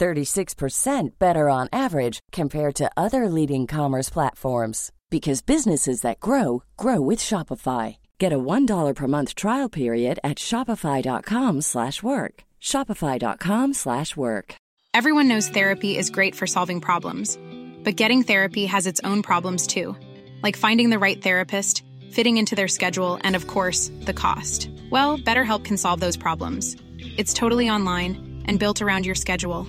36% better on average compared to other leading commerce platforms because businesses that grow grow with Shopify. Get a $1 per month trial period at shopify.com/work. shopify.com/work. Everyone knows therapy is great for solving problems, but getting therapy has its own problems too, like finding the right therapist, fitting into their schedule, and of course, the cost. Well, BetterHelp can solve those problems. It's totally online and built around your schedule.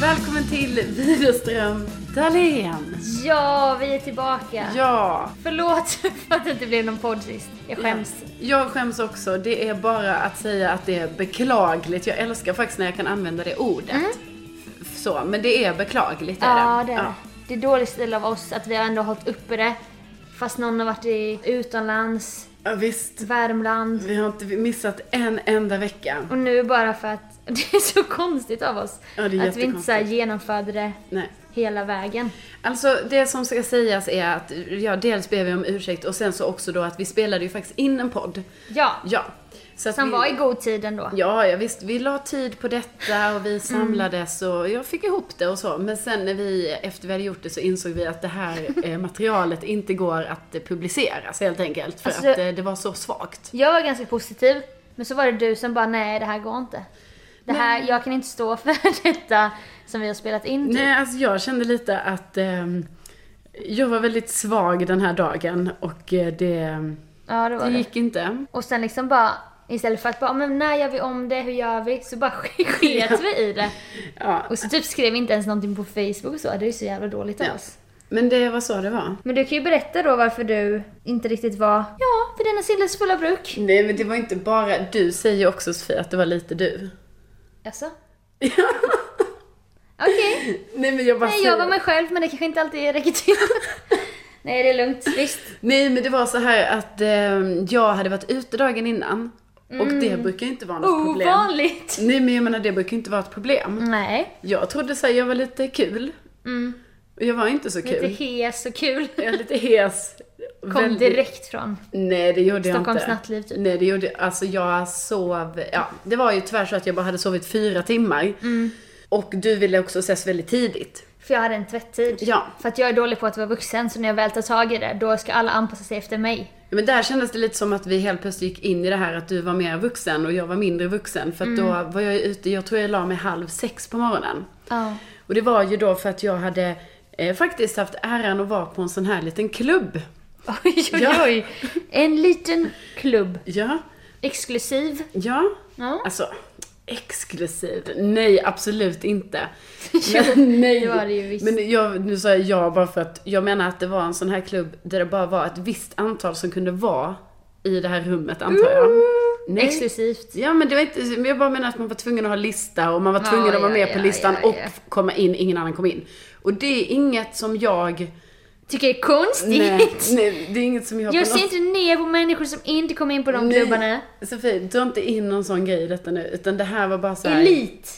Välkommen till Widerström Dahlén. Ja, vi är tillbaka. Ja, Förlåt för att det inte blev någon podd sist. Jag skäms. jag skäms också. Det är bara att säga att det är beklagligt. Jag älskar faktiskt när jag kan använda det ordet. F- Så, men det är beklagligt. är Mm. Ja, det är det. Det är dåligt stil av oss att vi har ändå hållit uppe det. Fast någon har varit i utomlands, Ja, visst. Värmland. Vi har inte missat en enda vecka. Och nu bara för att det är så konstigt av oss. Ja, det är att vi inte jättekonstigt. så här genomförde det Nej. hela vägen. Alltså det som ska sägas är att ja, dels ber vi om ursäkt och sen så också då att vi spelade ju faktiskt in en podd. Ja, Ja. Så att som vi, var i god tid ändå. Ja, ja, visst. Vi la tid på detta och vi samlades och jag fick ihop det och så. Men sen när vi, efter vi hade gjort det så insåg vi att det här eh, materialet inte går att eh, publiceras helt enkelt. För Alltså, att eh, det var så svagt. Jag var ganska positiv, men så var det du som bara nej, det här går inte. Det här, jag kan inte stå för detta som vi har spelat in. typ. Nej, alltså jag kände lite att ehm, jag var väldigt svag den här dagen och eh, det, Ja, det var det det. gick inte. Och sen liksom bara, istället för att bara, men när gör vi om det, hur gör vi? Så bara sk- sket vi i det. Ja. Och så typ skrev vi inte ens någonting på Facebook och så, det är ju så jävla dåligt av oss. Men det var så det var. Men du kan ju berätta då varför du inte riktigt var, ja, för denna silles fulla bruk. Nej, men det var inte bara... Du säger ju också Sofie att det var lite du. Jaså? Okej. Nej, men jag bara Nej, jag var mig själv, men det kanske inte alltid räcker till. Nej, det är lugnt. Visst. Nej men det var så här att eh, jag hade varit ute dagen innan. Och det brukar ju inte vara något problem. Mm. Ovanligt. Mm. Nej men jag menar det brukar ju inte vara ett problem. Nej, Jag trodde såhär, jag var lite kul. Och jag var inte så kul. Mm. lite hes och kul. jag är lite hes. Kom Väldigt- direkt från. Nej det gjorde jag inte. Stockholms nattliv, typ. Nej det gjorde jag Alltså jag sov, ja det var ju tyvärr så att jag bara hade sovit fyra timmar. Mm. Och du ville också ses väldigt tidigt. För jag hade en tvätttid. Ja. För att jag är dålig på att vara vuxen, så när jag väl tar tag i det, då ska alla anpassa sig efter mig. Men där kändes det lite som att vi helt plötsligt gick in i det här att du var mer vuxen och jag var mindre vuxen. För att då Mm. var jag ute, jag tror jag la mig halv sex på morgonen. Ja. Och det var ju då för att jag hade eh, faktiskt haft äran att vara på en sån här liten klubb. Oj, oj, Ja. oj. En liten klubb. Ja, Exklusiv. ja. Ja. Alltså, exklusiv. Nej, absolut inte. Men, nej. det var det ju visst. Men jag, nu sa jag ja bara för att jag menar att det var en sån här klubb där det bara var ett visst antal som kunde vara i det här rummet antar jag. Mm. Nej. Exklusivt. Ja men det var inte, men jag bara menar att man var tvungen att ha lista och man var Ja, tvungen att vara ja, med på ja, listan ja, och ja. komma in, ingen annan kom in. Och det är inget som jag... Tycker det är konstigt. Nej, nej, det är inget som jag... Jag på ser något- inte ner på människor som inte kommer in på de Nej. klubbarna. Sofie, dra inte in någon sån grej i detta nu. Utan det här var bara så här... Elit.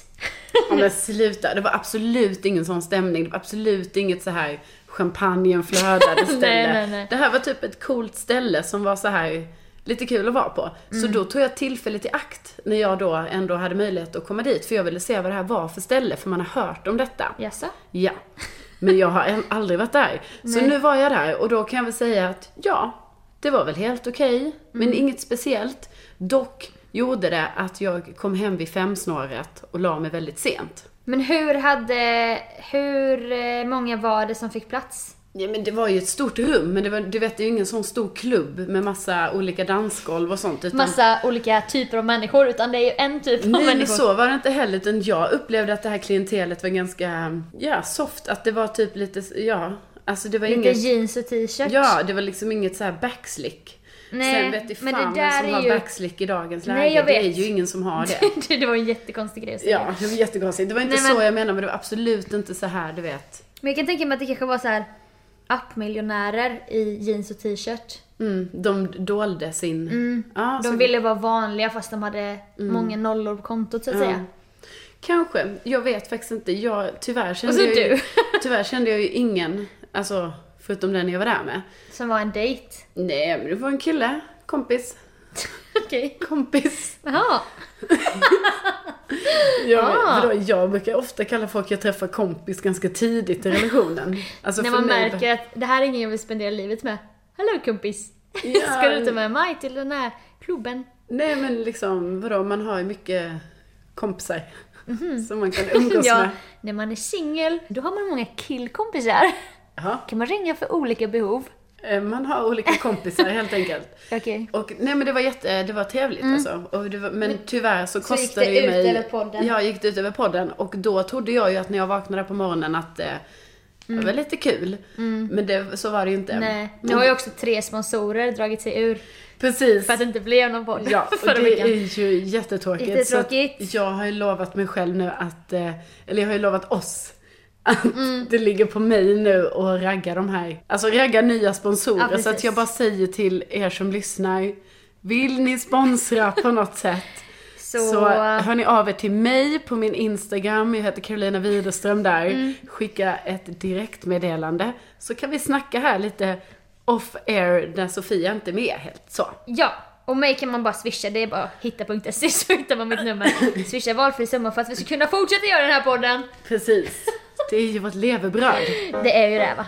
Ja, men sluta. Det var absolut ingen sån stämning. Det var absolut inget så här champagnen flödade ställe. nej, nej. Det här var typ ett coolt ställe som var så här lite kul att vara på. Mm. Så då tog jag tillfället i akt när jag då ändå hade möjlighet att komma dit. För jag ville se vad det här var för ställe, för man har hört om detta. Jaså? Ja. Men jag har än- aldrig varit där. Så nu var jag där och då kan jag väl säga att ja, det var väl helt okej. Men inget speciellt. Dock gjorde det att jag kom hem vid femsnåret och la mig väldigt sent. Men hur hade... Hur eh, många var det som fick plats? Ja men det var ju ett stort rum, men det var, du vet det är ju ingen sån stor klubb med massa olika dansgolv och sånt. Utan, Massa olika typer av människor, utan det är ju en typ av Nej men människor. så var det inte heller, utan jag upplevde att det här klientelet var ganska, ja soft, att det var typ lite, ja, alltså det var Lite inget... jeans och t-shirt. Ja, det var liksom inget så här backslick. Nej, Sen vet du fan men det där vem är som har ju- backslick i dagens läge. Nej, jag Det är vet. ju ingen som har det. det. var en jättekonstig grej att säga. Ja, det var jättekonstigt. Det var inte Nej, men- så jag menade, men det var absolut inte så här, du vet. Men jag kan tänka mig att det kanske var så här appmiljonärer i jeans och t-shirt. Mm, de dolde sin... Ja, så- Mm. De ville vara vanliga fast de hade många nollor på kontot så att säga. Kanske. Jag vet faktiskt inte. Jag, tyvärr, kände Och så jag ju, du. tyvärr kände jag ju ingen, alltså förutom den jag var där med. Som var en dejt. Nej, men det var en kille. Kompis. Okej. Kompis. Jaha. Jag, Ah. vadå, jag brukar ofta kalla folk jag träffar kompis ganska tidigt i relationen. Alltså När för man mig- märker att det här är ingen jag vill spendera livet med. Hallå kompis. Ja. Ska du inte med mig till den här klubben? Nej men liksom, vadå, man har ju mycket kompisar. Som man kan umgås Mhm. Ja, med. när man är singel, då har man många killkompisar. Ja. Kan man ringa för olika behov? Eh, Man har olika kompisar helt enkelt. Okej. Och, nej men det var, jätte, det var trevligt alltså. Och det var, men tyvärr så Mm. gick kostade det ju ut mig... över podden. Ja, gick det ut över podden. Och då trodde jag ju att när jag vaknade på morgonen att eh, det var lite kul. Men det, så var det ju inte. Mm. Nej. Nu Men, har ju också tre sponsorer dragit sig ur precis. för att det inte blev någon podd Ja, och förra det veckan. är ju jättetråkigt. Jättetråkigt. Så att jag har ju lovat mig själv nu att, eh, eller jag har ju lovat oss, att Mm. det ligger på mig nu att ragga de här, alltså ragga nya sponsorer. Ja, precis. så att jag bara säger till er som lyssnar, vill ni sponsra på något sätt? Så, Så hör ni av er till mig på min Instagram, jag heter Carolina Widerström där. Mm. Skicka ett direktmeddelande. Så kan vi snacka här lite off air när Sofia inte är med helt så. ja. Och mig kan man bara swisha, det är bara hitta.se E så hittar man mitt nummer. Swisha valfri summa för att vi ska kunna fortsätta göra den här podden. Precis. Det är ju vårt levebröd. Det är ju det va.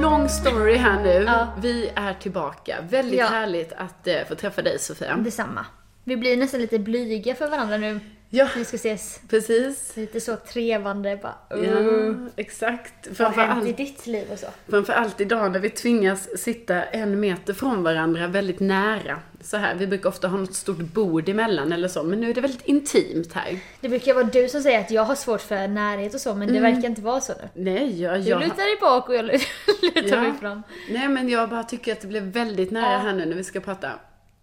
Long story här nu. Ja. Vi är tillbaka. Väldigt Ja. Mm. härligt att eh, få träffa dig Sofia. Detsamma. Vi blir nästan lite blyga för varandra nu. Ja, Vi ska ses precis. lite så trevande bara. Ja, "Åh, exakt. Vad har hänt i Framförallt, ditt liv och så? framförallt idag när vi tvingas sitta en meter från varandra, väldigt nära. Så här, vi brukar ofta ha något stort bord emellan eller så, men nu är det väldigt intimt här. Det brukar vara du som säger att jag har svårt för närhet och så, men det verkar inte vara så nu. Nej, Mm. jag, Du jag, lutar dig bak och jag lut- lutar Ja. mig fram. nej men jag bara tycker att det blev väldigt nära här nu när vi ska prata.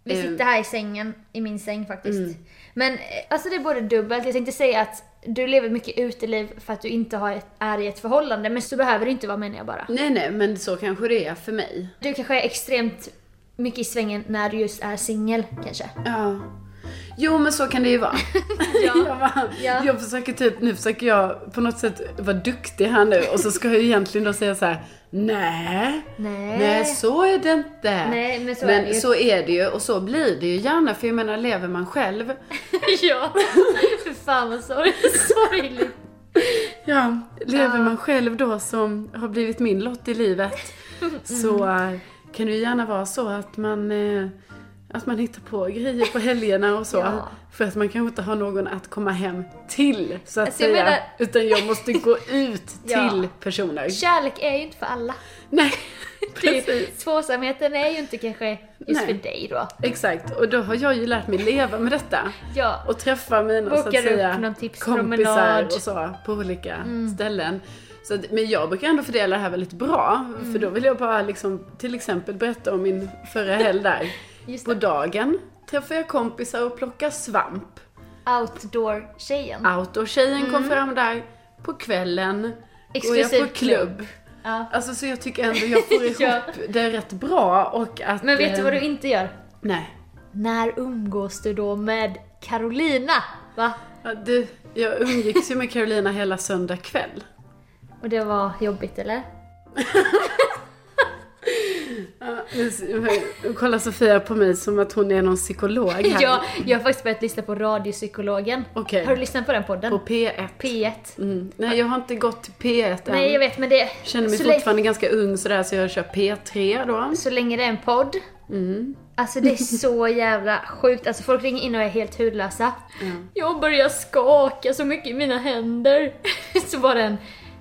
Vi Eh, sitter här i sängen, i min säng faktiskt. Mm. Men eh, alltså det är både dubbelt, jag tänkte säga att du lever mycket uteliv för att du inte har ett, är i ett förhållande, men så behöver det inte vara menar jag bara. Nej, nej, men så kanske det är för mig. Du kanske är extremt mycket i svängen när du just är singel kanske. Ja. Jo men så kan det ju vara. Ja. jag, bara, Ja. jag försöker typ, nu försöker jag på något sätt vara duktig här nu och så ska jag ju egentligen då säga så här: nej, Nej. nej så är det inte. Nej, men så är det ju. så är det ju och så blir det ju gärna för jag menar lever man själv. Ja, för fan vad sorg- sorgligt. Ja, lever man själv då som har blivit min lott i livet så eh, kan det ju gärna vara så att man eh, att man hittar på grejer på helgerna och så. Ja. För att man kanske inte har någon att komma hem till, så att Alltså, jag säga. menar- Utan jag måste gå ut Ja. till personer. Kärlek är ju inte för alla. Nej, Det- precis. Tvåsamheten är ju inte kanske just Nej. för dig då. Exakt, och då har jag ju lärt mig leva med detta. Ja. Och träffa mina så att Bokar upp säga, någon tipspromenad. Mm. kompisar och så på olika ställen. Så att, men jag brukar ändå fördela det här väldigt bra. Mm. För då vill jag bara liksom, till exempel berätta om min förra helg där. Just på det. dagen träffar jag kompisar och plockar svamp. Outdoor-tjejen. Ah, Outdoor-tjejen kom fram där. På kvällen går jag Mm. Exklusiv på klubb. Ja. Alltså så jag tycker ändå jag får ihop Ja. det rätt bra och att... Men vet du eh, vad du inte gör? Nej. När umgås du då med Carolina? Va? Ja, du, jag umgicks ju med Carolina hela söndag kväll. Och det var jobbigt eller? Nu kollar Sofia på mig som att hon är någon psykolog här. Jag, jag har faktiskt börjat lyssna på Radiopsykologen. Okej. Har du lyssnat på den podden? På P1. P1. Mm. Nej, jag har inte gått till P1 än. Nej jag vet men det... Känner mig så, länge, fortfarande ganska ung sådär, så jag kör P3 då. så länge det är en podd. Alltså det är så jävla sjukt. Alltså folk ringer in och är helt hudlösa. Jag börjar skaka så mycket i mina händer. så var det en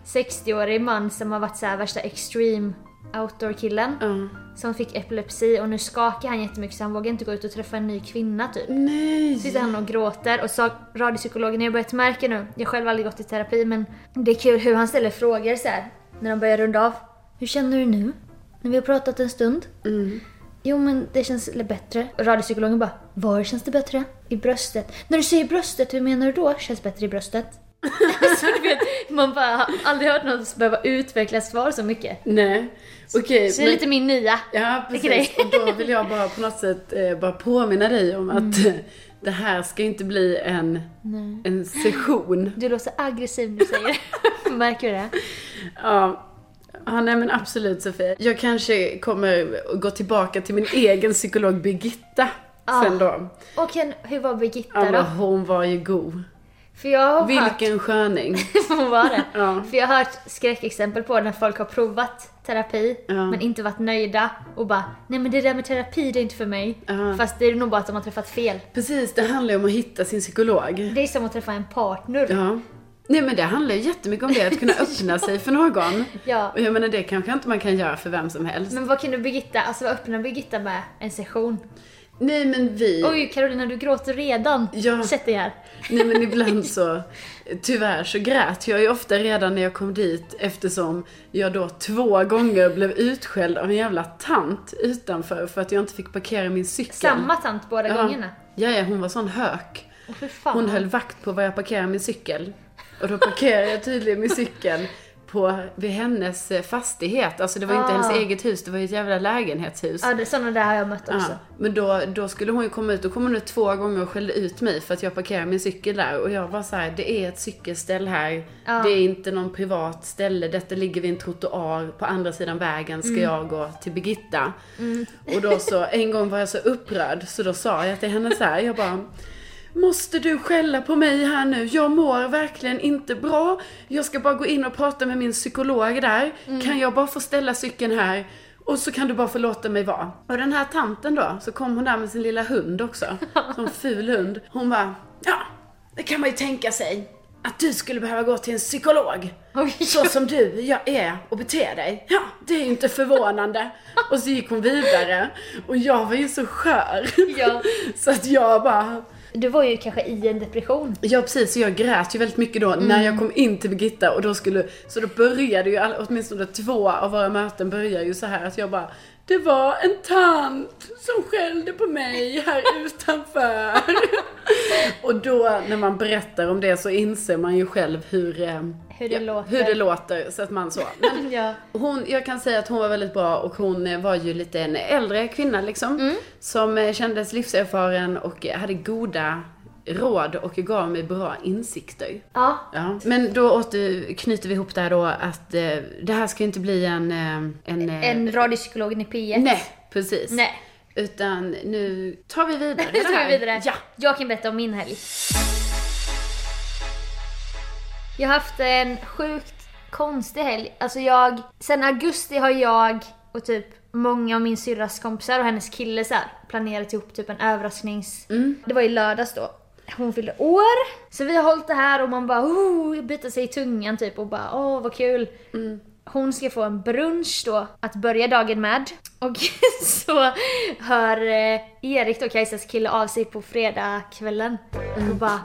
60-årig man som har varit så här värsta extreme outdoor-killen. Ja. Som fick epilepsi och nu skakar han jättemycket så han vågar inte gå ut och träffa en ny kvinna typ. Nej! sitter han och gråter och sa radiopsykologen, jag har börjat märka nu, jag har själv aldrig gått i terapi men det är kul hur han ställer frågor så här när de börjar runda av. Hur känner du nu? När vi har pratat en stund? Mm. Jo men det känns lite bättre. Och radiopsykologen bara, var känns det bättre? I bröstet. När du säger bröstet, hur menar du då? Känns bättre i bröstet? så du vet, man bara har aldrig hört någon behöva utveckla svar så mycket. Nej. Okej. Så det är men- lite min nya. Ja, till dig. precis. Och då vill jag bara på något sätt eh, bara påminna dig om att Mm. eh, det här ska inte bli en, en session. Du låter så aggressiv när du säger det. Märker du det? Ja. ja, nej men absolut Sofia. Jag kanske kommer att gå tillbaka till min egen psykolog Birgitta Ja. sen då. Och Ken, hur var Birgitta Ja, men då? hon var ju god. För jag har hört... Vilken sköning. Hon var det. Ja. För jag har hört skräckexempel på när folk har provat terapi Ja. men inte varit nöjda och bara nej men det där med terapi det är inte för mig. Fast det är nog bara att de har träffat fel. Precis, det handlar ju om att hitta sin psykolog. Det är som att träffa en partner. Ja. Nej men det handlar ju jättemycket om det, att kunna öppna sig för någon. Ja. Och jag menar det kanske inte man kan göra för vem som helst. Men vad kunde Birgitta, alltså vad öppnade Birgitta med en session? Nej men vi... Oj Carolina du gråter redan. Ja. Sätt dig här. Nej men ibland så, tyvärr så grät jag ju ofta redan när jag kom dit eftersom jag då två gånger blev utskälld av en jävla tant utanför för att jag inte fick parkera min cykel. Samma tant båda gångerna. Ja, ja, hon var sån hök. Åh, fy fan. Hon höll vakt på var jag parkerade min cykel. Och då parkerade jag tydligen min cykel på, vid hennes eh, fastighet. Alltså det var ju inte Ah. hennes eget hus, det var ju ett jävla lägenhetshus. Ja, det, sådana där har jag mött också. Ja, men då, då skulle hon ju komma ut, och kom hon ut två gånger och skällde ut mig för att jag parkerade min cykel där och jag var så här: det är ett cykelställ här, det är inte någon privat ställe, detta ligger vid en trottoar, på andra sidan vägen ska jag gå till Birgitta. Och då så, en gång var jag så upprörd så då sa jag till henne så här, jag bara Måste du skälla på mig här nu? Jag mår verkligen inte bra. Jag ska bara gå in och prata med min psykolog där. Mm. Kan jag bara få ställa cykeln här? Och så kan du bara få låta mig vara. Och den här tanten då, så kom hon där med sin lilla hund också. Som ful hund. Hon bara, ja, det kan man ju tänka sig. Att du skulle behöva gå till en psykolog. Oj. Så som du jag är och beter dig. Ja, det är ju inte förvånande. Och så gick hon vidare. Och jag var ju så skör. Ja. Så att jag bara, Du var ju kanske i en depression. Ja precis, så jag grät ju väldigt mycket då Mm. när jag kom in till Birgitta och då skulle, så då började ju all, åtminstone två av våra möten börjar ju så här att jag bara Det var en tant som skällde på mig här utanför. och då när man berättar om det så inser man ju själv hur, eh, Hur det låter. hur det låter. Så att man så. Men Ja. hon, jag kan säga att hon var väldigt bra och hon eh, var ju lite en äldre kvinna liksom. Mm. Som eh, kändes livserfaren och eh, hade goda råd och gav mig bra insikter. Ja. Ja. Men då åter, knyter vi ihop det här då att eh, det här ska inte bli en... eh, En... eh, En radiopsykologen i P1. Nej, precis. Nej. Utan nu tar vi vidare Nu det tar här. vi vidare. Ja. Jag kan berätta om min helg. Jag har haft en sjukt konstig helg. Alltså jag, sen augusti har jag och typ många av min syrras kompisar och hennes kille så här, planerat ihop typ en överrasknings... Mm. Det var i lördags då. Hon fyllde år. Så vi har hållit det här och man bara oh, biter sig i tungan typ och bara åh vad kul. Hon ska få en brunch då att börja dagen med. Och så hör eh, Erik då, Kajsas kille, av sig på fredagskvällen. Och bara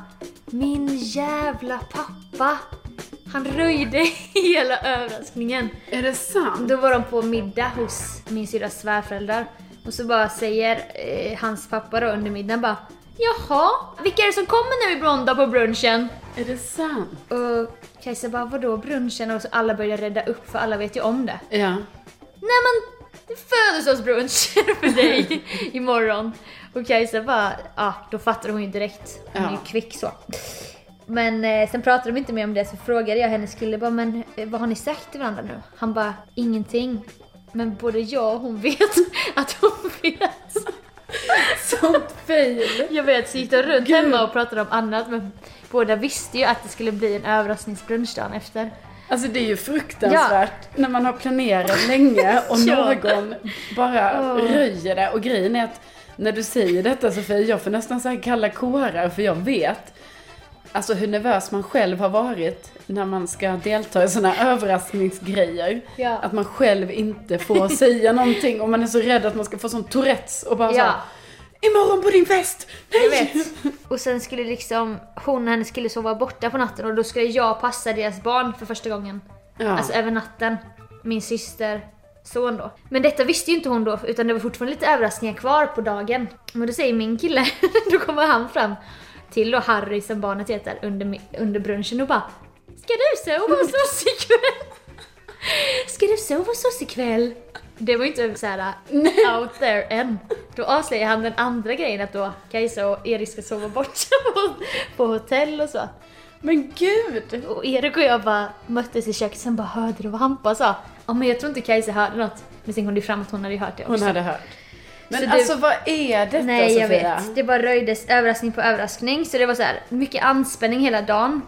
Min jävla pappa! Han röjde hela överraskningen. Är det sant? Då var de på middag hos min syrras svärföräldrar. Och så bara säger eh, hans pappa då under middagen bara Jaha, vilka är det som kommer nu imorgon då på brunchen? Är det sant? Och Kajsa bara vadå brunchen? Och så alla börjar rädda upp för alla vet ju om det. Ja. Nej men det är födelsedagsbrunch för dig imorgon. Och Kajsa bara, ja då fattar hon ju direkt. Hon är ju Ja. kvick så. Men eh, sen pratade de inte mer om det så frågade jag hennes kille bara, men eh, vad har ni sagt till varandra nu? Han bara, ingenting. Men både jag och hon vet att hon vet. Sånt fail. Jag vet, så gick de runt hemma och pratade om annat men båda visste ju att det skulle bli en överraskningsbrunch dagen efter. Alltså det är ju fruktansvärt när man har planerat länge och Ja. någon bara röjer det. Och grejen är att när du säger detta Sofie, jag får nästan så här kalla kårar för jag vet alltså hur nervös man själv har varit när man ska delta i sådana överraskningsgrejer. Ja. Att man själv inte får säga någonting och man är så rädd att man ska få sån tourettes och bara så här, Ja. Imorgon på din fest! Nej! Jag vet. Och sen skulle liksom hon och hennes kille sova borta på natten och då skulle jag passa deras barn för första gången. Ja. Alltså över natten. Min syster, son då. Men detta visste ju inte hon då utan det var fortfarande lite överraskningar kvar på dagen. Men då säger min kille, då kommer han fram till då Harry som barnet heter under, mi- under brunchen och bara Ska du sova hos oss ikväll? Ska du sova hos oss ikväll? Det var ju inte såhär out there än. Då avslöjar han den andra grejen att då Kajsa och Erik ska sova borta på, på hotell och så. Men gud! Och Erik och jag bara möttes i köket sen bara hörde du vad Hampa sa? Ja men jag tror inte Kajsa hörde något. Men sen kom det fram att hon hade ju hört det också. Hon hade hört. Men Så du- alltså vad är detta Nej jag Sofia? vet. Det bara röjdes överraskning på överraskning. Så det var så här mycket anspänning hela dagen.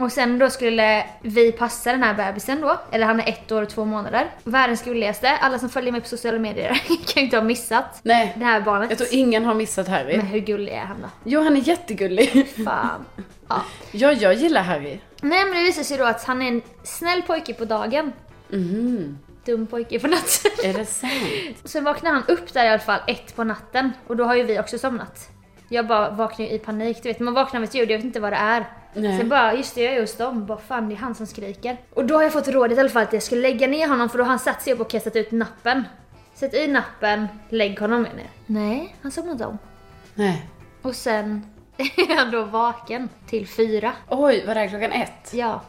Och sen då skulle vi passa den här bebisen då. Eller han är ett år och två månader. Världens gulligaste. Alla som följer mig på sociala medier kan ju inte ha missat Nej. det här barnet. Jag tror E- ingen har missat Harry. Men hur gullig är han då? Jo, han är jättegullig. Fan. Ja. Ja, jag gillar Harry. Nej men det visar sig då att han är en snäll pojke på dagen. Dum pojke på natten. Mhm. Är det sant? Sen vaknar han upp där i alla fall ett på natten och då har ju vi också somnat. Jag bara vaknar ju i panik, du vet man vaknar med ett ljud, jag vet inte vad det är. Nej. Sen bara, just det jag är hos dem, bara fan det är han som skriker. Och då har jag fått rådet i alla fall att jag skulle lägga ner honom för då har han satt sig upp och kastat ut nappen. Sätt i nappen, lägg honom menar jag. Nej, han somnade om. Nej. Och sen är han då vaken till fyra. Oj, var det här klockan ett? Ja.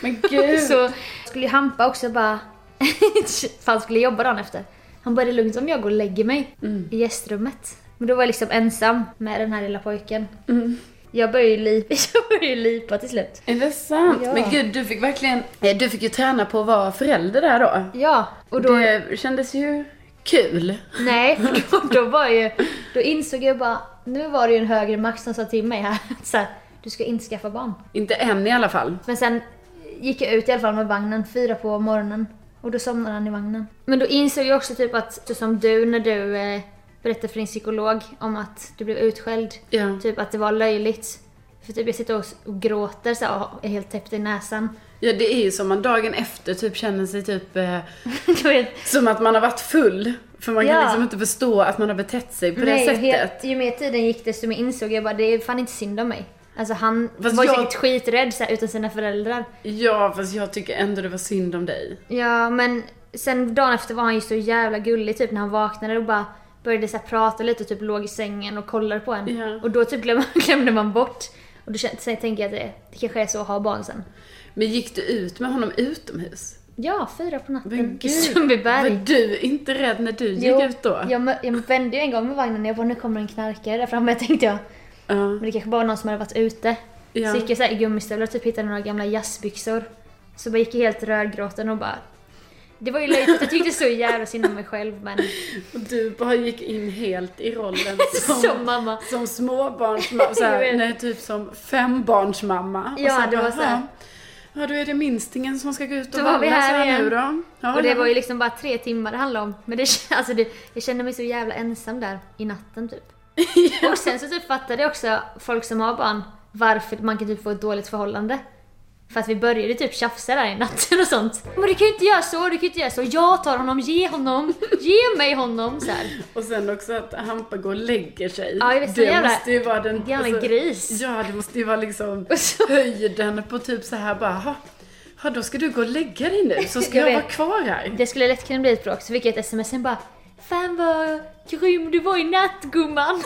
Men gud! Så skulle ju Hampa också bara... För han skulle jobba dagen efter. Han bara, "Det är lugnt om jag går och lägger mig Mm. i gästrummet. Men då var jag liksom ensam med den här lilla pojken. Mm. Jag började ju lipa, jag började ju lipa till slut. Är det sant? Ja. Men gud, du fick verkligen... eh, Du fick ju träna på att vara förälder där då. Ja, och då... Det kändes ju kul. Nej, då, då var ju... Då insåg jag bara, nu var det ju en högre makt som sa till mig här. Så här du ska inte skaffa barn. Inte än i alla fall. Men sen gick jag ut i alla fall med vagnen fyra på morgonen. Och då somnade han i vagnen. Men då insåg jag också typ att, så som du när du eh, berättade för din psykolog om att du blev utskälld. Ja. Typ att det var löjligt. För typ jag sitter och, s- och gråter så här, och är helt täppt i näsan. Ja, det är ju som man dagen efter typ känner sig typ... Eh, Du vet, som att man har varit full. För man kan Ja. liksom inte förstå att man har betett sig på det ju, sättet. helt- ju mer tiden gick desto mer insåg jag bara det är fan inte synd om mig. Alltså han Fast var ju jag- säkert skiträdd så här, utan sina föräldrar. Ja, fast jag tycker ändå det var synd om dig. Ja, men sen dagen efter var han ju så jävla gullig typ när han vaknade och bara började så här, prata lite och typ låg i sängen och kollade på en. Ja. Och då typ glöm, glömde man bort. Och då kände, sen tänkte jag att det, det kanske är så att ha barn sen. Men gick du ut med honom utomhus? Ja, fyra på Men natten i gud, Sundbyberg. var du inte rädd när du gick ut då? jag, mö- jag vände ju en gång med vagnen och jag bara nu kommer en knarkare där framme tänkte jag. Ja. Men det kanske bara var någon som hade varit ute. Ja. Så gick jag så här i gummistövlar och typ hittade några gamla jazzbyxor. Så bara gick jag helt rödgråten och bara... Det var ju löjligt, jag tyckte så jävla synd om mig själv men... Och du bara gick in helt i rollen som, Som mamma. som småbarnsmamma, så Jag här, vet. nej typ som fembarnsmamma. Ja, så här det var så här. Ja, ja, då är det minstingen som ska gå ut och Då var vi valla här så igen. nu då. Ja, Och det ja. var ju liksom bara tre timmar det handlade om. Men det, kän- alltså det, jag kände mig så jävla ensam där i natten typ. Och sen så typ fattade jag också folk som har barn varför man kan typ få ett dåligt förhållande. För att vi började typ tjafsa där i natten och sånt. Men du kan ju inte göra så, du kan ju inte göra så. Jag tar honom, ge honom, ge mig honom så här. Och sen också att Hampa går och lägger sig. Ja, jag vet, så det jävla- måste ju vara den... alltså, jävla gris. Ja, det måste ju vara liksom Och så- höjden på typ så här bara, "Ha, ja då ska du gå och lägga dig nu så ska Jag jag, vet. vara kvar här. Det skulle lätt kunna bli ett bråk, så fick jag ett sms sen bara Fan vad grym du var i natt gumman!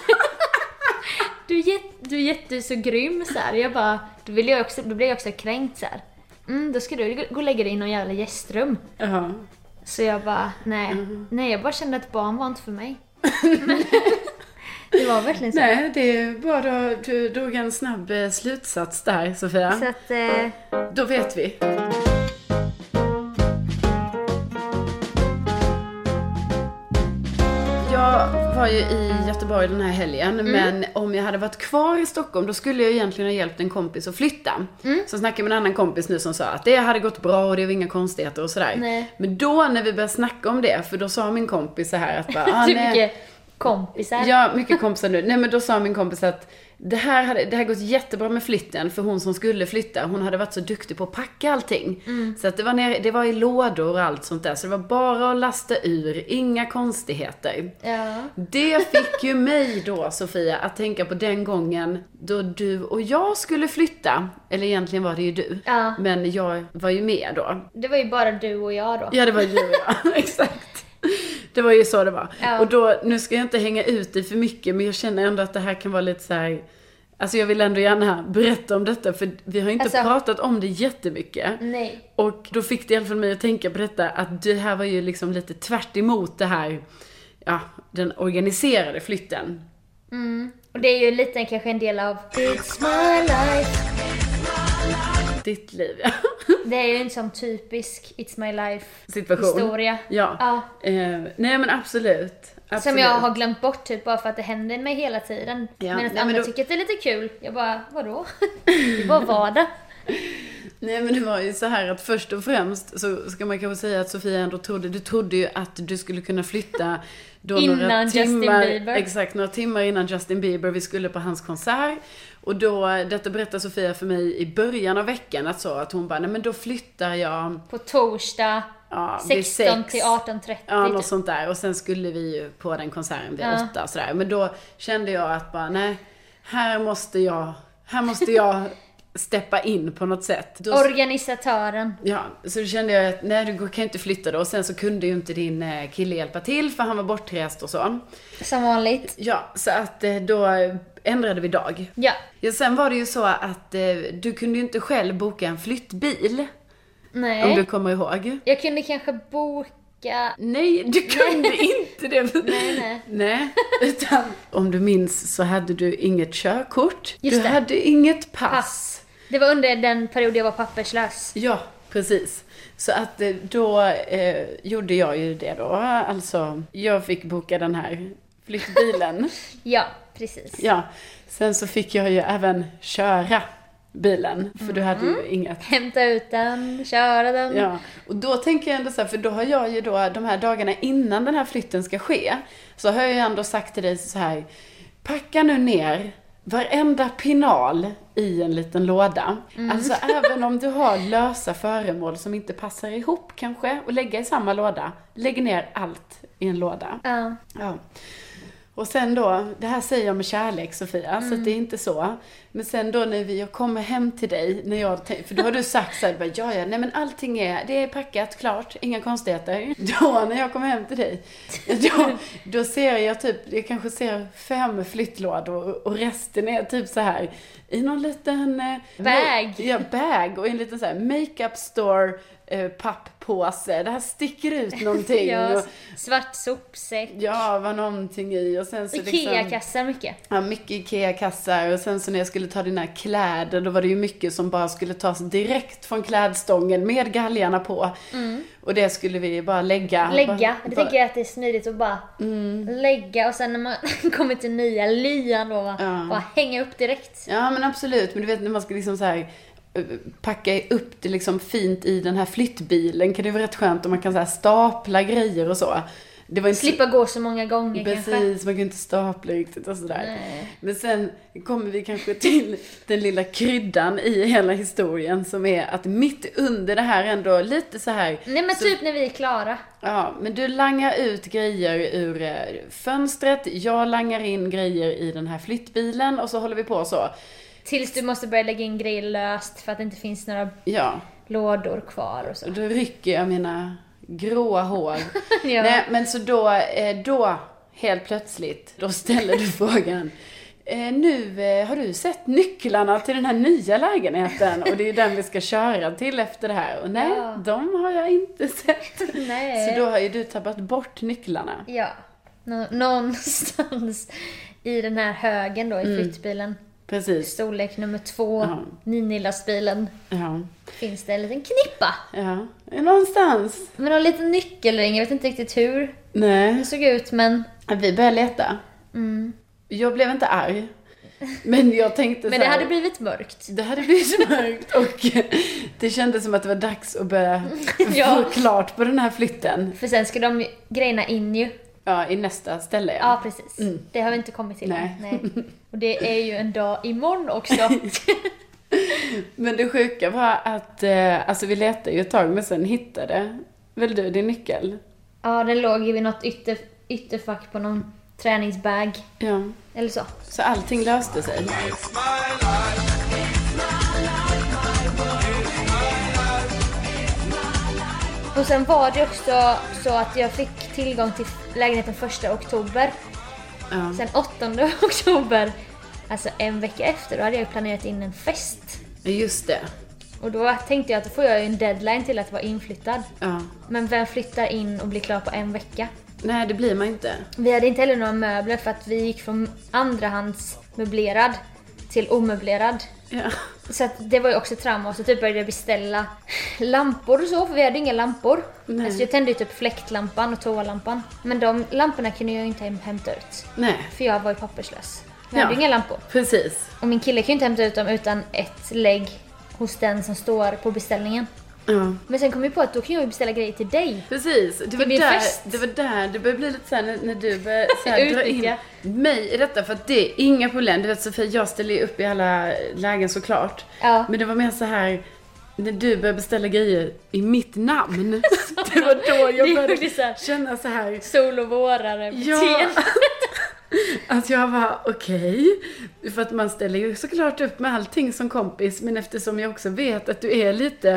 du, är jätt, du är jätte så grym så här. Jag bara, då, vill jag också, då blev jag också kränkt så här. Mm, då ska du gå och lägga dig i någon jävla gästrum. Ja. Mm. Så jag bara, nej. Nej, jag bara kände att barn var inte för mig. Men, Det var verkligen så. Nej, det är bra. Då, du drog en snabb eh, slutsats där, Sofia. Så att, eh, Då vet vi. Jag var ju i Göteborg den här helgen, Mm. men om jag hade varit kvar i Stockholm då skulle jag egentligen ha hjälpt en kompis att flytta. Mm. Så snackade jag med en annan kompis nu som sa att det hade gått bra och det var inga konstigheter och sådär. Nej. Men då när vi började snacka om det, för då sa min kompis så här att bara, ah, typ nej. mycket kompisar. Ja, mycket kompisar nu. Nej men då sa min kompis att det här hade det här gått jättebra med flytten för hon som skulle flytta, hon hade varit så duktig på att packa allting. Så att det var, nere, det var i lådor och allt sånt där. Så det var bara att lasta ur, inga konstigheter. Ja. Det fick ju mig då Sofia att tänka på den gången då du och jag skulle flytta. Eller egentligen var det ju du. Ja. Men jag var ju med då. Det var ju bara du och jag då. Ja, det var ju du och jag. Exakt. Det var ju så det var. Ja. Och då, nu ska jag inte hänga ut dig för mycket, men jag känner ändå att det här kan vara lite så här. Alltså jag vill ändå gärna berätta om detta, för vi har inte Alltså- pratat om det jättemycket. Nej. Och då fick det i alla fall mig att tänka på detta, att det här var ju liksom lite tvärt emot det här, ja, den organiserade flytten. Och det är ju lite kanske en del av... It's my life. Ditt liv, ja. Det är ju en sån typisk It's my life Situation. historia. Ja. ja. Eh, nej men absolut. absolut. Som jag har glömt bort typ bara för att det händer mig hela tiden. Ja. Medan Nej, men andra då- tycker att det är lite kul. Jag bara, vadå? Det var vardag. Nej men det var ju så här att först och främst så ska man kanske säga att Sofia ändå trodde, du trodde ju att du skulle kunna flytta då några Innan Justin timmar, Bieber. Exakt, några timmar innan Justin Bieber, vi skulle på hans konsert. Och då, detta berättade Sofia för mig i början av veckan att så att hon bara, nej men då flyttar jag På torsdag Ja, vid 16 sex. till 18.30. Ja, något typ. sånt där. Och sen skulle vi ju på den konserten vid Ja. åtta och sådär. Men då kände jag att bara, nej, här måste jag, här måste jag steppa in på något sätt. Då Organisatören. Ja, så då kände jag att nej, du kan ju inte flytta då. Och sen så kunde ju inte din eh, kille hjälpa till för han var bortrest och så. Som vanligt. Ja, så att eh, då ändrade vi dag. Ja. Ja, sen var det ju så att eh, du kunde ju inte själv boka en flyttbil. Om Nej. du kommer ihåg. Jag kunde kanske boka... Nej, du kunde inte det. Nej, nej. Nej, utan om du minns så hade du inget körkort. Just du det. hade inget pass. Pass. Det var under den period jag var papperslös. Ja, precis. Så att eh, då eh, gjorde jag ju det då. Alltså, jag fick boka den här flyttbilen. Ja, precis. ja, sen så fick jag ju även köra bilen. För du hade ju inget. Hämta ut den, köra den. Ja, och då tänker jag ändå så här, för då har jag ju då de här dagarna innan den här flytten ska ske, så har jag ju ändå sagt till dig så här, packa nu ner varenda pinal i en liten låda. Alltså även om du har lösa föremål som inte passar ihop kanske, och lägga i samma låda, lägg ner allt i en låda. Ja. Ja. Och sen då, det här säger jag med kärlek Sofia, så Mm. att det är inte så. Men sen då när vi, jag kommer hem till dig, när jag, tänk- för då har du sagt så här, bara, ja ja, nej men allting är, det är packat, klart, inga konstigheter. Då när jag kommer hem till dig, då, då ser jag typ, jag kanske ser fem flyttlådor och resten är typ så här i någon liten... eh, Bag. Ja, bag och i en liten så här makeup store eh, papppåse. Det här sticker ut någonting. Ja, och, svart sopsäck. Ja, var någonting i och sen så liksom... Ikea-kassar mycket. Ja, mycket Ikea-kassar och sen så när jag skulle ta dina kläder då var det ju mycket som bara skulle tas direkt från klädstången med galgarna på. Och det skulle vi bara lägga. Mm. Lägga. Bara- Mm. Det bara- tänker jag att det är smidigt att bara lägga och sen när man kommer till nya lyan då va, Ja. bara hänga upp direkt. Ja men absolut, men du vet när man ska liksom så här eh, packa upp det liksom fint i den här flyttbilen kan det vara rätt skönt om man kan så här stapla grejer och så. Det var inte Slippa gå så många gånger kanske. Precis, man kan inte stapla riktigt och sådär. Men sen kommer vi kanske till den lilla kryddan i hela historien som är att mitt under det här ändå lite så här Nej men typ när vi är klara. Ja, men du langar ut grejer ur eh, fönstret, jag langar in grejer i den här flyttbilen och så håller vi på så. Tills du måste börja lägga in grejer löst för att det inte finns några Ja, lådor kvar och så. och då rycker jag mina gråa hår. Ja. Nej, men så då, eh, då, helt plötsligt, då ställer du frågan. eh, Nu eh, har du sett nycklarna till den här nya lägenheten och det är ju den vi ska köra till efter det här. Och nej, Ja. de har jag inte sett. Nej. Så då har ju du tappat bort nycklarna. Ja. Nå- någonstans i den här högen då i flyttbilen. Mm. Precis. Storlek nummer två, Ja. Ninilastbilen, Ja. finns det en liten knippa. ja. Någonstans. Med någon liten nyckelring, jag vet inte riktigt hur Nej. det såg ut men, Vi började leta. Mm. Jag blev inte arg. Men jag tänkte men så det här, hade blivit mörkt. det hade blivit så mörkt och det kändes som att det var dags att börja Ja. få klart på den här flytten. För sen ska de ju grejerna in ju. Ja, i nästa ställe Ja precis. Det har vi inte kommit till Mm. Nej. än. Nej. Och det är ju en dag imorgon också. Men det sjuka var att, eh, alltså vi letade ju ett tag men sen hittade väl du din nyckel? ja den låg ju vid något ytter, ytterfack på någon träningsbag. Ja. Eller så. Så allting löste sig. Och sen var det också så att jag fick tillgång till lägenheten 1 oktober. Ja. Sen 8 oktober, alltså en vecka efter, då hade jag ju planerat in en fest. Just det. Och då tänkte jag att då får jag ju en deadline till att vara inflyttad. Ja. Men vem flyttar in och blir klar på en vecka? Nej, det blir man inte. Vi hade inte heller några möbler för att vi gick från andrahandsmöblerad till omöblerad. Ja. Så att det var ju också ett trauma och så typ började jag beställa lampor och så för vi hade inga lampor. Nej. Alltså jag tände ju typ fläktlampan och toalampan. Men de lamporna kunde jag ju inte hem- hämta ut. Nej. För jag var ju papperslös. Jag Ja. hade ju inga lampor. Precis. Och min kille kan ju inte hämta ut dem utan ett lägg hos den som står på beställningen. Ja. Men sen kom jag på att då kan jag ju beställa grejer till dig. Precis, det var, min där, fest. det var där det började bli lite såhär när, när du började så här, dra in Utnyttja. mig i detta. För att det är inga problem. Du vet Sofia, jag ställer ju upp i alla lägen såklart. Ja. Men det var mer så här när du började beställa grejer i mitt namn. det var då jag Det är började ju liksom- så här- känna så här Sol och vårare Ja. Att jag var okej. För att man ställer ju såklart upp med allting som kompis. Men eftersom jag också vet att du är lite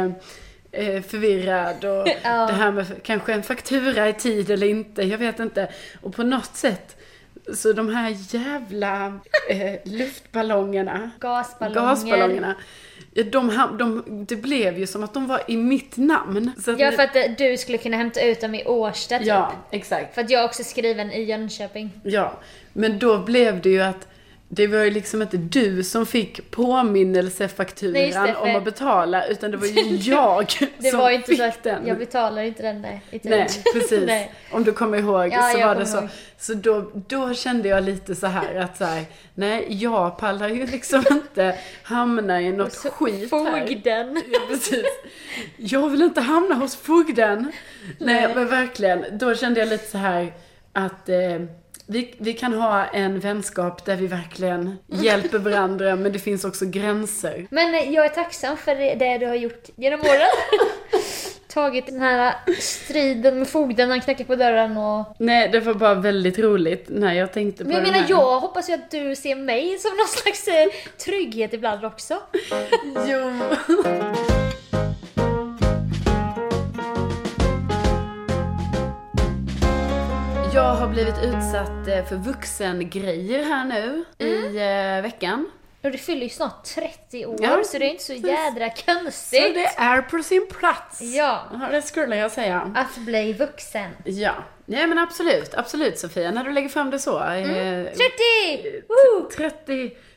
eh, förvirrad och Ja. det här med kanske en faktura i tid eller inte. Jag vet inte. Och på något sätt. Så de här jävla eh, luftballongerna. Gasballonger. Gasballongerna. eh, De, ham- de, det blev ju som att de var i mitt namn. Så att Ja, ni- för att eh, du skulle kunna hämta ut dem i Årsta typ. ja, exakt. För att jag är också skriven i Jönköping. Ja, men då blev det ju att det var ju liksom inte du som fick Nej, just påminnelsefakturan det, för- om att betala, utan det var ju jag Det som var ju inte fick så att den. jag betalar inte den där i tid. Nej, precis. Nej. Om du kommer ihåg Ja, så jag var det kommer så. ihåg. Så då, då kände jag lite så här att så här, nej, jag pallar ju liksom inte hamna i något Så skit här. Fogden. Ja, precis. Jag vill inte hamna hos fogden. Nej, Nej. men verkligen. Då kände jag lite så här att eh, vi, vi kan ha en vänskap där vi verkligen hjälper varandra, men det finns också gränser. Men eh, jag är tacksam för det- det du har gjort genom åren. Tagit den här striden med fogden, han knackar på dörren och... Nej, det var bara väldigt roligt när jag tänkte på Men jag den menar, här. jag hoppas ju att du ser mig som någon slags eh, trygghet ibland också. Jo. Jag har blivit utsatt eh, för vuxengrejer här nu i Mm. eh, veckan. Och du fyller ju snart 30 år, Ja, så det är inte så precis. jädra Så konstigt det är på sin plats. Ja. Det skulle jag säga. att bli vuxen. Ja. Nej men absolut, absolut Sofia. När du lägger fram det så. Mm. 30! Woo! 30.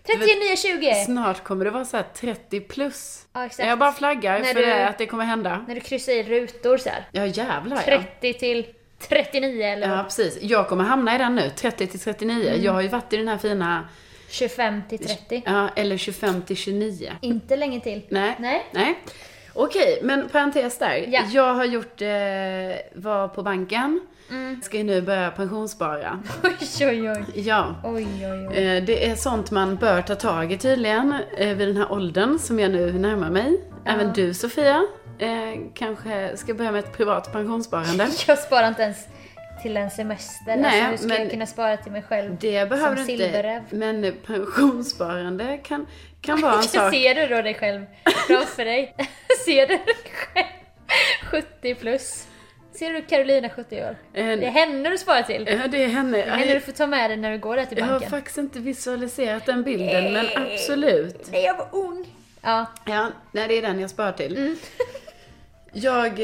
30 du vet, nya 20! Snart kommer det vara så här 30 plus. Ja, exakt. Jag bara flaggar När för du- det, att det kommer hända. När du kryssar i rutor så här. Ja jävlar ja. 30 till 39 eller Ja precis. Jag kommer hamna i den nu, 30 till 39. Mm. Jag har ju varit i den här fina, 25 till 30. ja eller 25 till 29. Inte länge till. Nej. Nej. Okej, men parentes där. Ja. Jag har gjort, eh, var på banken. Mm. Ska ju nu börja pensionsspara. Oj, oj, oj. Ja. Oj, oj, oj. Eh, Det är sånt man bör ta tag i tydligen eh, vid den här åldern som jag nu närmar mig. Även du Sofia eh, kanske ska börja med ett privat pensionssparande. Jag sparar inte ens till en semester. Nej, alltså, nu ska men- jag kunna spara till mig själv. Det behöver Som du inte. silverräv. Men pensionssparande kan, kan vara en sak. Ser du då dig själv framför dig? Ser du dig själv 70 plus? Ser du Carolina 70 år? En- Det är henne du sparar till. Ja, Det är henne. Det är henne du får ta med dig när du går där till Jag har banken. faktiskt inte visualiserat den bilden, men absolut. Nej, jag var ung. Ja, Mm. Ja, nej, det är den jag sparar till. Jag eh,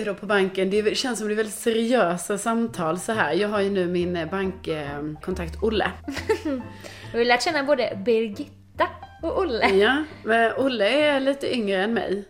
är då på banken. Det känns som det är väldigt seriösa samtal så här. Jag har ju nu min eh, bankkontakt eh, Olle. Vi har lärt känna både Birgitta och Olle. Ja, men Olle är lite yngre än mig.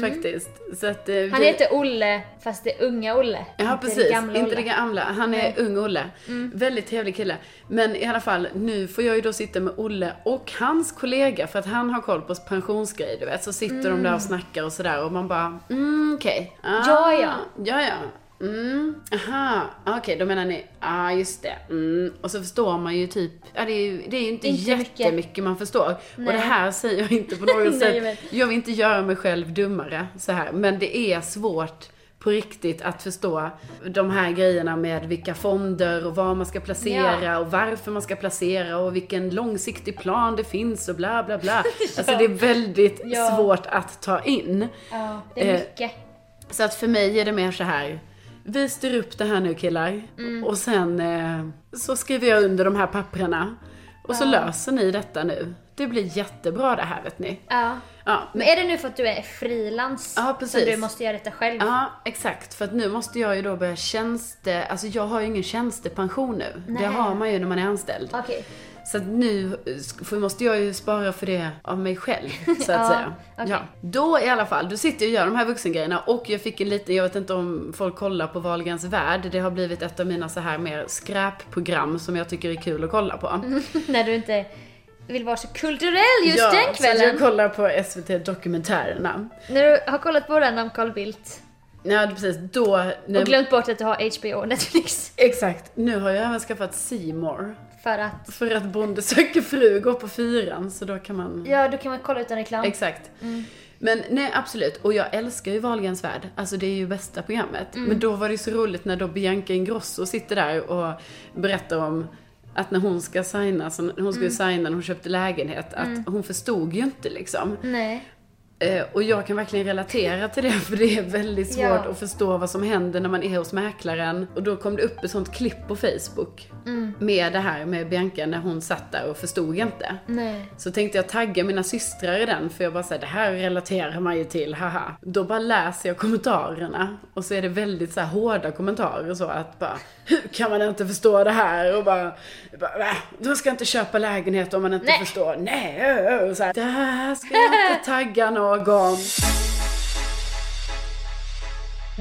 Faktiskt. Så att, eh, vi... Mm. Han heter Olle, fast det är unga Olle. Ja inte det precis, gamla inte det Olle. gamla. Han är Nej. Mm. ung Olle. Väldigt trevlig kille. Men i alla fall, nu får jag ju då sitta med Olle och hans kollega för att han har koll på pensionsgrejer du vet. Så sitter de där och snackar och sådär och man bara, mm okej. Ah, Mm. Ja, ja. Ja ja. Mm, aha, okej då menar ni, ja ah, just det. Mm. Och så förstår man ju typ, ja det är ju, det är ju inte, Inte mycket. jättemycket man förstår. Och det här säger jag inte på något Nej, sätt. men- Jag vill inte göra mig själv dummare så här, men det är svårt på riktigt att förstå de här grejerna med vilka fonder och vad man ska placera Ja. och varför man ska placera och vilken långsiktig plan det finns och bla bla bla. Alltså det är väldigt Ja. svårt att ta in. Ja, det är Eh, mycket. Så att för mig är det mer så här. Vi styr upp det här nu killar Mm. och sen eh, så skriver jag under de här papprena och så löser ni detta nu. Det blir jättebra det här vet ni. Ja. Ja, Men är det nu för att du är frilans? Ja, Så precis. du måste göra detta själv? Ja, exakt. För att nu måste jag ju då börja tjänste... Alltså jag har ju ingen tjänstepension nu. Nej. Det har man ju när man är anställd. Okej. Så att nu sk- får- måste jag ju spara för det av mig själv, så att Ja, säga. okej. Ja. Då i alla fall, då sitter jag och gör de här vuxengrejerna och jag fick en liten, jag vet inte om folk kollar på Wahlgrens värld, det har blivit ett av mina så här mer skräpprogram som jag tycker är kul att kolla på. När du inte vill vara så kulturell Mm, just ja, den Så att jag kvällen. kollar på SVT Dokumentärerna. När du har kollat på den om Carl Bildt Ja, precis. Då... när- och glömt bort att du har HBO och Netflix. Exakt. Nu har jag även skaffat C More. För att, För att Bonde söker fru går på fyran, så då kan man... ja då kan man kolla utan reklam. Exakt. Men nej, absolut. Och jag älskar ju Wahlgrens värld. Alltså det är ju bästa programmet. Men då var det ju så roligt när då Bianca Ingrosso sitter där och berättar om att när hon ska signa, så hon skulle signa när hon köpte lägenhet, att hon förstod ju inte liksom. Nej. Eh, och jag kan verkligen relatera till det för det är väldigt svårt Ja. att förstå vad som händer när man är hos mäklaren. Och då kom det upp ett sånt klipp på Facebook Mm. med det här med Bianca när hon satt där och förstod inte. Nej. Så tänkte jag tagga mina systrar i den för jag bara såhär, det här relaterar man ju till, haha. Då bara läser jag kommentarerna och så är det väldigt så här hårda kommentarer och så att bara, hur kan man inte förstå det här? Och bara, bara "Va? de ska inte köpa lägenhet om man inte Nej. förstår. Nej! ö, ö." Och så här, det här ska jag inte tagga någon.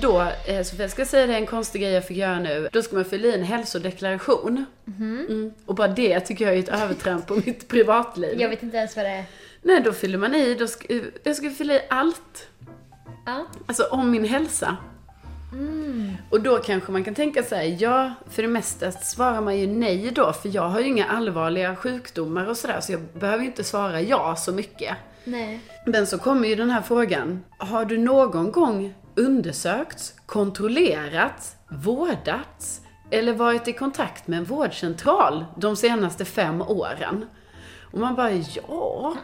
Då, eh, Sofia, jag ska säga det en konstig grej jag fick göra nu. Då ska man fylla i en hälsodeklaration. Mhm. Mm. Och bara det tycker jag är ett övertramp på mitt privatliv. Jag vet inte ens vad det är. Nej, då fyller man i, då ska, jag ska fylla i allt. Ja. Alltså om min hälsa. Och då kanske man kan tänka sig, ja, för det mesta svarar man ju nej då, för jag har ju inga allvarliga sjukdomar och sådär, så jag behöver ju inte svara ja så mycket. Nej. Men så kommer ju den här frågan, har du någon gång undersökts, kontrollerats, vårdats eller varit i kontakt med en vårdcentral de senaste fem åren? Och man bara, ja,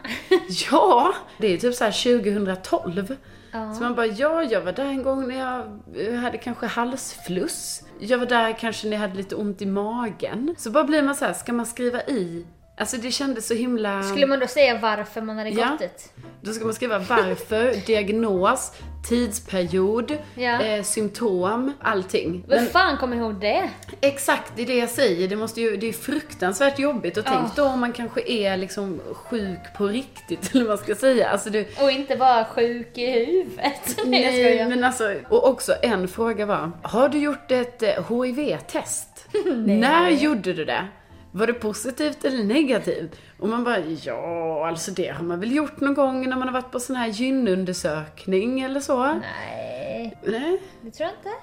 ja. Det är typ så här 2012. Så man bara, ja, jag var där en gång när jag eh, hade kanske halsfluss. Jag var där kanske när jag hade lite ont i magen. Så bara blir man så här, ska man skriva i? Alltså det kändes så himla... Skulle man då säga varför man hade Ja. gått dit? Då ska man skriva varför, diagnos, tidsperiod, Ja. eh, symptom, allting. Vem Men fan kommer ihåg det? exakt, det är det jag säger. Det, måste ju, det är fruktansvärt jobbigt. Och tänk då om man kanske är liksom sjuk på riktigt, eller vad man ska säga. Alltså det, Och inte vara sjuk i huvudet. jag nej, skojar. men alltså, och också en fråga var, har du gjort ett eh, HIV-test? När gjorde du det? Var det positivt eller negativt? Och man bara, ja, alltså det har man väl gjort någon gång när man har varit på sån här gynundersökning eller så. Nej, Nej. det tror jag inte.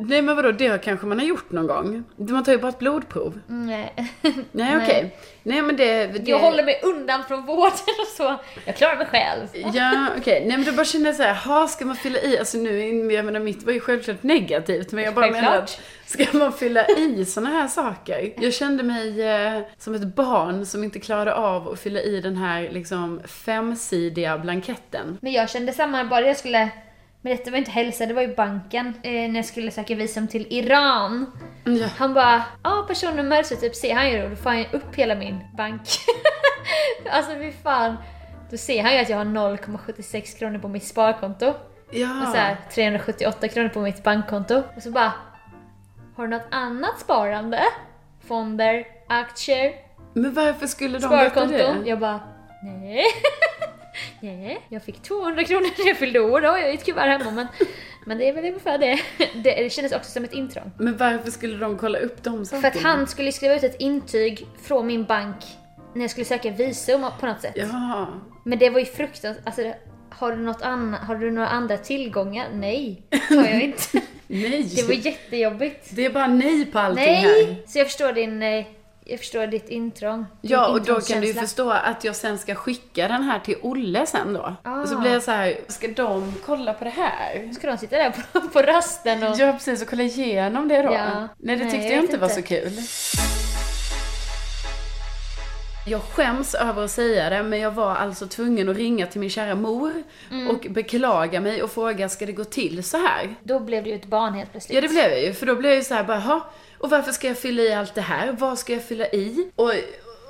Nej men vadå, det kanske man har gjort någon gång? Man tar ju bara ett blodprov. Nej. Nej okej. Nej men det... det... Jag håller mig undan från vården och så. Jag klarar mig själv. Ja okej, nej men då bara känner jag såhär, ha ska man fylla i, alltså nu, jag menar mitt var ju självklart negativt men jag bara menar att, ska man fylla i såna här saker? Jag kände mig eh, som ett barn som inte klarade av att fylla i den här liksom femsidiga blanketten. Men jag kände samma, bara jag skulle... Men detta var inte hälsa, det var ju banken. Eh, när jag skulle söka visum till Iran. Mm, Ja. Han bara, ja personnummer, så typ ser han ju då, då får han ju upp hela min bank. alltså fy fan. Då ser han ju att jag har 0,76 kronor på mitt sparkonto. med Ja. så här 378 kronor på mitt bankkonto. Och så bara, har du något annat sparande? Fonder, aktier, Men varför skulle de veta sparkonto? det? Jag bara, nej. nej. Jag fick 200 kronor när jag fyllde år, då har jag ju ett kuvert hemma. Men, men det är väl ungefär det. det. Det kändes också som ett intrång. Men varför skulle de kolla upp de sakerna? För att han skulle skriva ut ett intyg från min bank när jag skulle söka visum på något sätt. Ja. Men det var ju fruktansvärt. Alltså, det- har, du något anna- har du några andra tillgångar? Nej, det har jag inte. Nej. Det var jättejobbigt. Det är bara nej på allting här. Nej! Så jag förstår din... eh, Jag förstår ditt intrång. Din Ja, och då kan du ju intrångskänsla. förstå att jag sen ska skicka den här till Olle sen då. Och så blir jag så här, ska de kolla på det här? Ska de sitta där på, på rasten och... Ja, precis, och kolla igenom det då. Ja. Nej, det Nej, tyckte jag jag, vet inte var inte. så kul. Jag skäms över att säga det, men jag var alltså tvungen att ringa till min kära mor och beklaga mig och fråga, ska det gå till så här? Då blev du ju ett barn helt plötsligt. Ja det blev jag ju, för då blev jag ju så här bara, "Jaha, och varför ska jag fylla i allt det här? Vad ska jag fylla i? Och,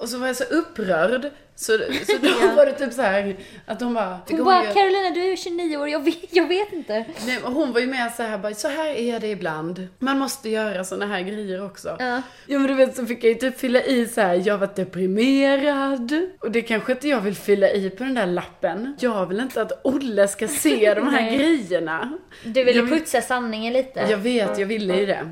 och så var jag så upprörd, så, så då var det typ så här att de bara... Hon bara, Carolina du är 29 år, jag vet, jag vet inte. Nej, men hon var ju med så här bara, så här är det ibland. Man måste göra såna här grejer också. Ja. ja men du vet så fick jag ju typ fylla i så här, jag var deprimerad. Och det kanske inte jag vill fylla i på den där lappen. Jag vill inte att Olle ska se de här Nej. grejerna. Du ville Jag vill- putsa sanningen lite. Jag vet, jag ville ju det.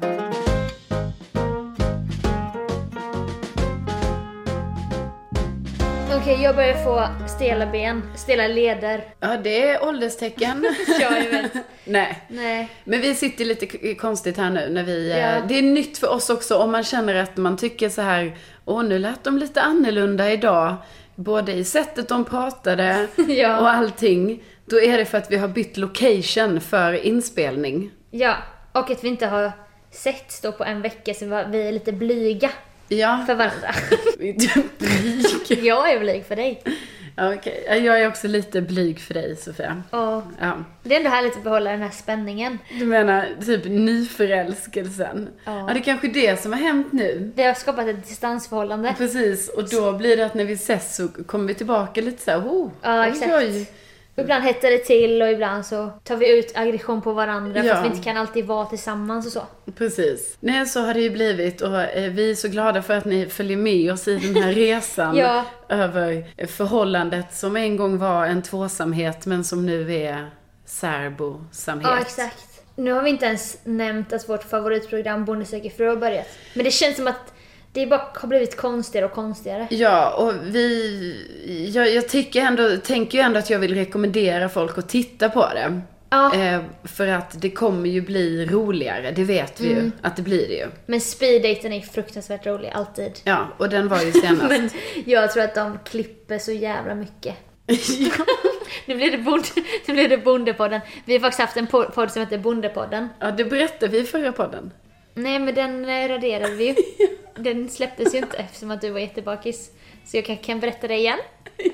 Okej, jag börjar få stela ben, stela leder. Ja, det är ålderstecken. Ja, jag vet. Nej. Nej. Men vi sitter lite k- konstigt här nu när vi... eh, Ja. Det är nytt för oss också om man känner att man tycker så här, åh nu lät de lite annorlunda idag. Både i sättet de pratade Ja. och allting. Då är det för att vi har bytt location för inspelning. Ja, och att vi inte har sett då på en vecka så var- vi är lite blyga Ja. för varandra. Vi är typ blyg. jag är blyg för dig. Ja, okej. Ja, Jag är också lite blyg för dig Sofia. Och Ja. det är ändå härligt att behålla den här spänningen. Du menar typ nyförälskelsen. Ja. ja det är kanske det som har hänt nu. Det har skapat ett distansförhållande. Precis, och då blir det att när vi ses så kommer vi tillbaka lite så här, oh, Ja, exakt. Ibland hettar det till och ibland så tar vi ut aggression på varandra för Ja. att vi inte kan alltid vara tillsammans och så. Precis. Nej, så har det ju blivit och eh, vi är så glada för att ni följer med oss i den här resan Ja. över eh, förhållandet som en gång var en tvåsamhet men som nu är särbosamhet. Ja, exakt. Nu har vi inte ens nämnt att vårt favoritprogram Bonde söker fru har börjat. Men det känns som att det bara har blivit konstigare och konstigare. Ja, och vi... Jag, jag tycker ändå, tänker ju ändå att jag vill rekommendera folk att titta på det. Ja. Eh, för att det kommer ju bli roligare, det vet vi Mm. ju att det blir det ju. Men speeddaten är fruktansvärt rolig, alltid. Ja, och den var ju senast. Men jag tror att de klipper så jävla mycket. Nu blir det, bonde, nu blir det Bondepodden. Vi har faktiskt haft en po- podd som heter Bondepodden. ja, det berättade vi i förra podden. Nej, men den eh, raderade vi ju. Den släpptes ju inte eftersom att du var jättebakis. Så jag kan, kan berätta det igen.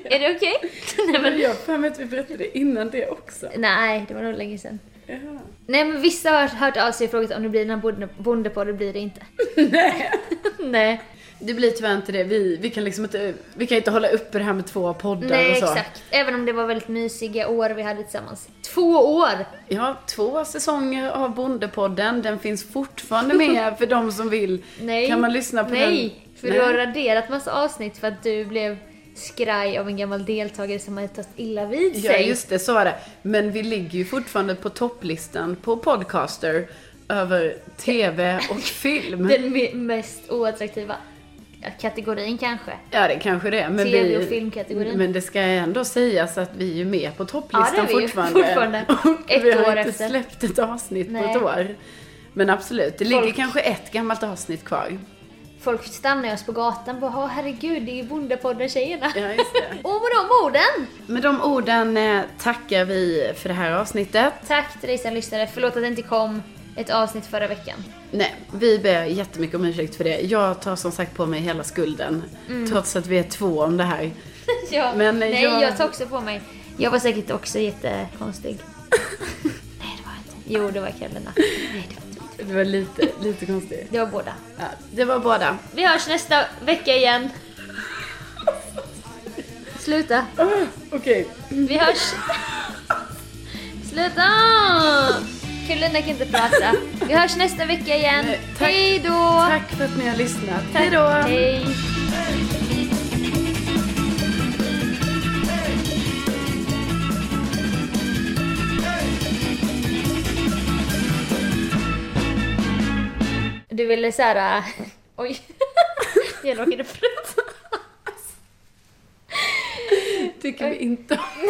Är det okej? Nej, men- Jag har för mig att vi berättade det innan det också. Nej, det var nog länge sedan. Nej, men vissa har hört av sig och frågat om det blir den här bonde- Bondepodd, det blir det inte. Nej. Nej, Det blir tyvärr inte det. Vi, vi kan liksom inte, vi kan inte hålla uppe det här med två poddar Nej och så. exakt. Även om det var väldigt mysiga år vi hade tillsammans. Två år! Ja, två säsonger av Bondepodden. Den finns fortfarande med för de som vill. Nej. Kan man lyssna på Nej, den? för du har raderat massa avsnitt för att du blev skraj av en gammal deltagare som hade tagit illa vid sig. Ja, just det. Så var det. Men vi ligger ju fortfarande på topplistan på Podcaster över TV och film. Den me- mest oattraktiva kategorin kanske. Ja, det kanske det är. Men TV vi, och filmkategorin. Men det ska ändå sägas att vi är ju med på Ja, topplistan det är vi ju. fortfarande. Fortfarande. Och Ett vi har år inte efter. släppt ett avsnitt på Nej. ett år. Men absolut, det Folk- ligger kanske ett gammalt avsnitt kvar. Folk stannar ju oss på gatan och bara "Åh, herregud, det är ju Bondepodden-tjejerna. Ja, just det. och med de orden! Med de orden eh, tackar vi för det här avsnittet. Tack till dig som lyssnade, förlåt att det inte kom ett avsnitt förra veckan. Nej, vi ber jättemycket om ursäkt för det. Jag tar som sagt på mig hela skulden. Mm. Trots att vi är två om det här. ja, Men, eh, nej, jag... jag- tar också på mig. Jag var säkert också jättekonstig. nej, det var jag inte. Jo, det var Carolina. Nej, det var inte. Det var lite, lite konstigt. Det var båda. Ja, det var båda. Vi hörs nästa vecka igen. Sluta. Okej. Vi hörs. Sluta! Karolina kan inte prata. Vi hörs nästa vecka igen. Nej, tack. Hej då! Tack för att ni har lyssnat. Hej då! Hej. Du ville såhär... Äh, oj. Jag råkade prata. Tycker vi inte om.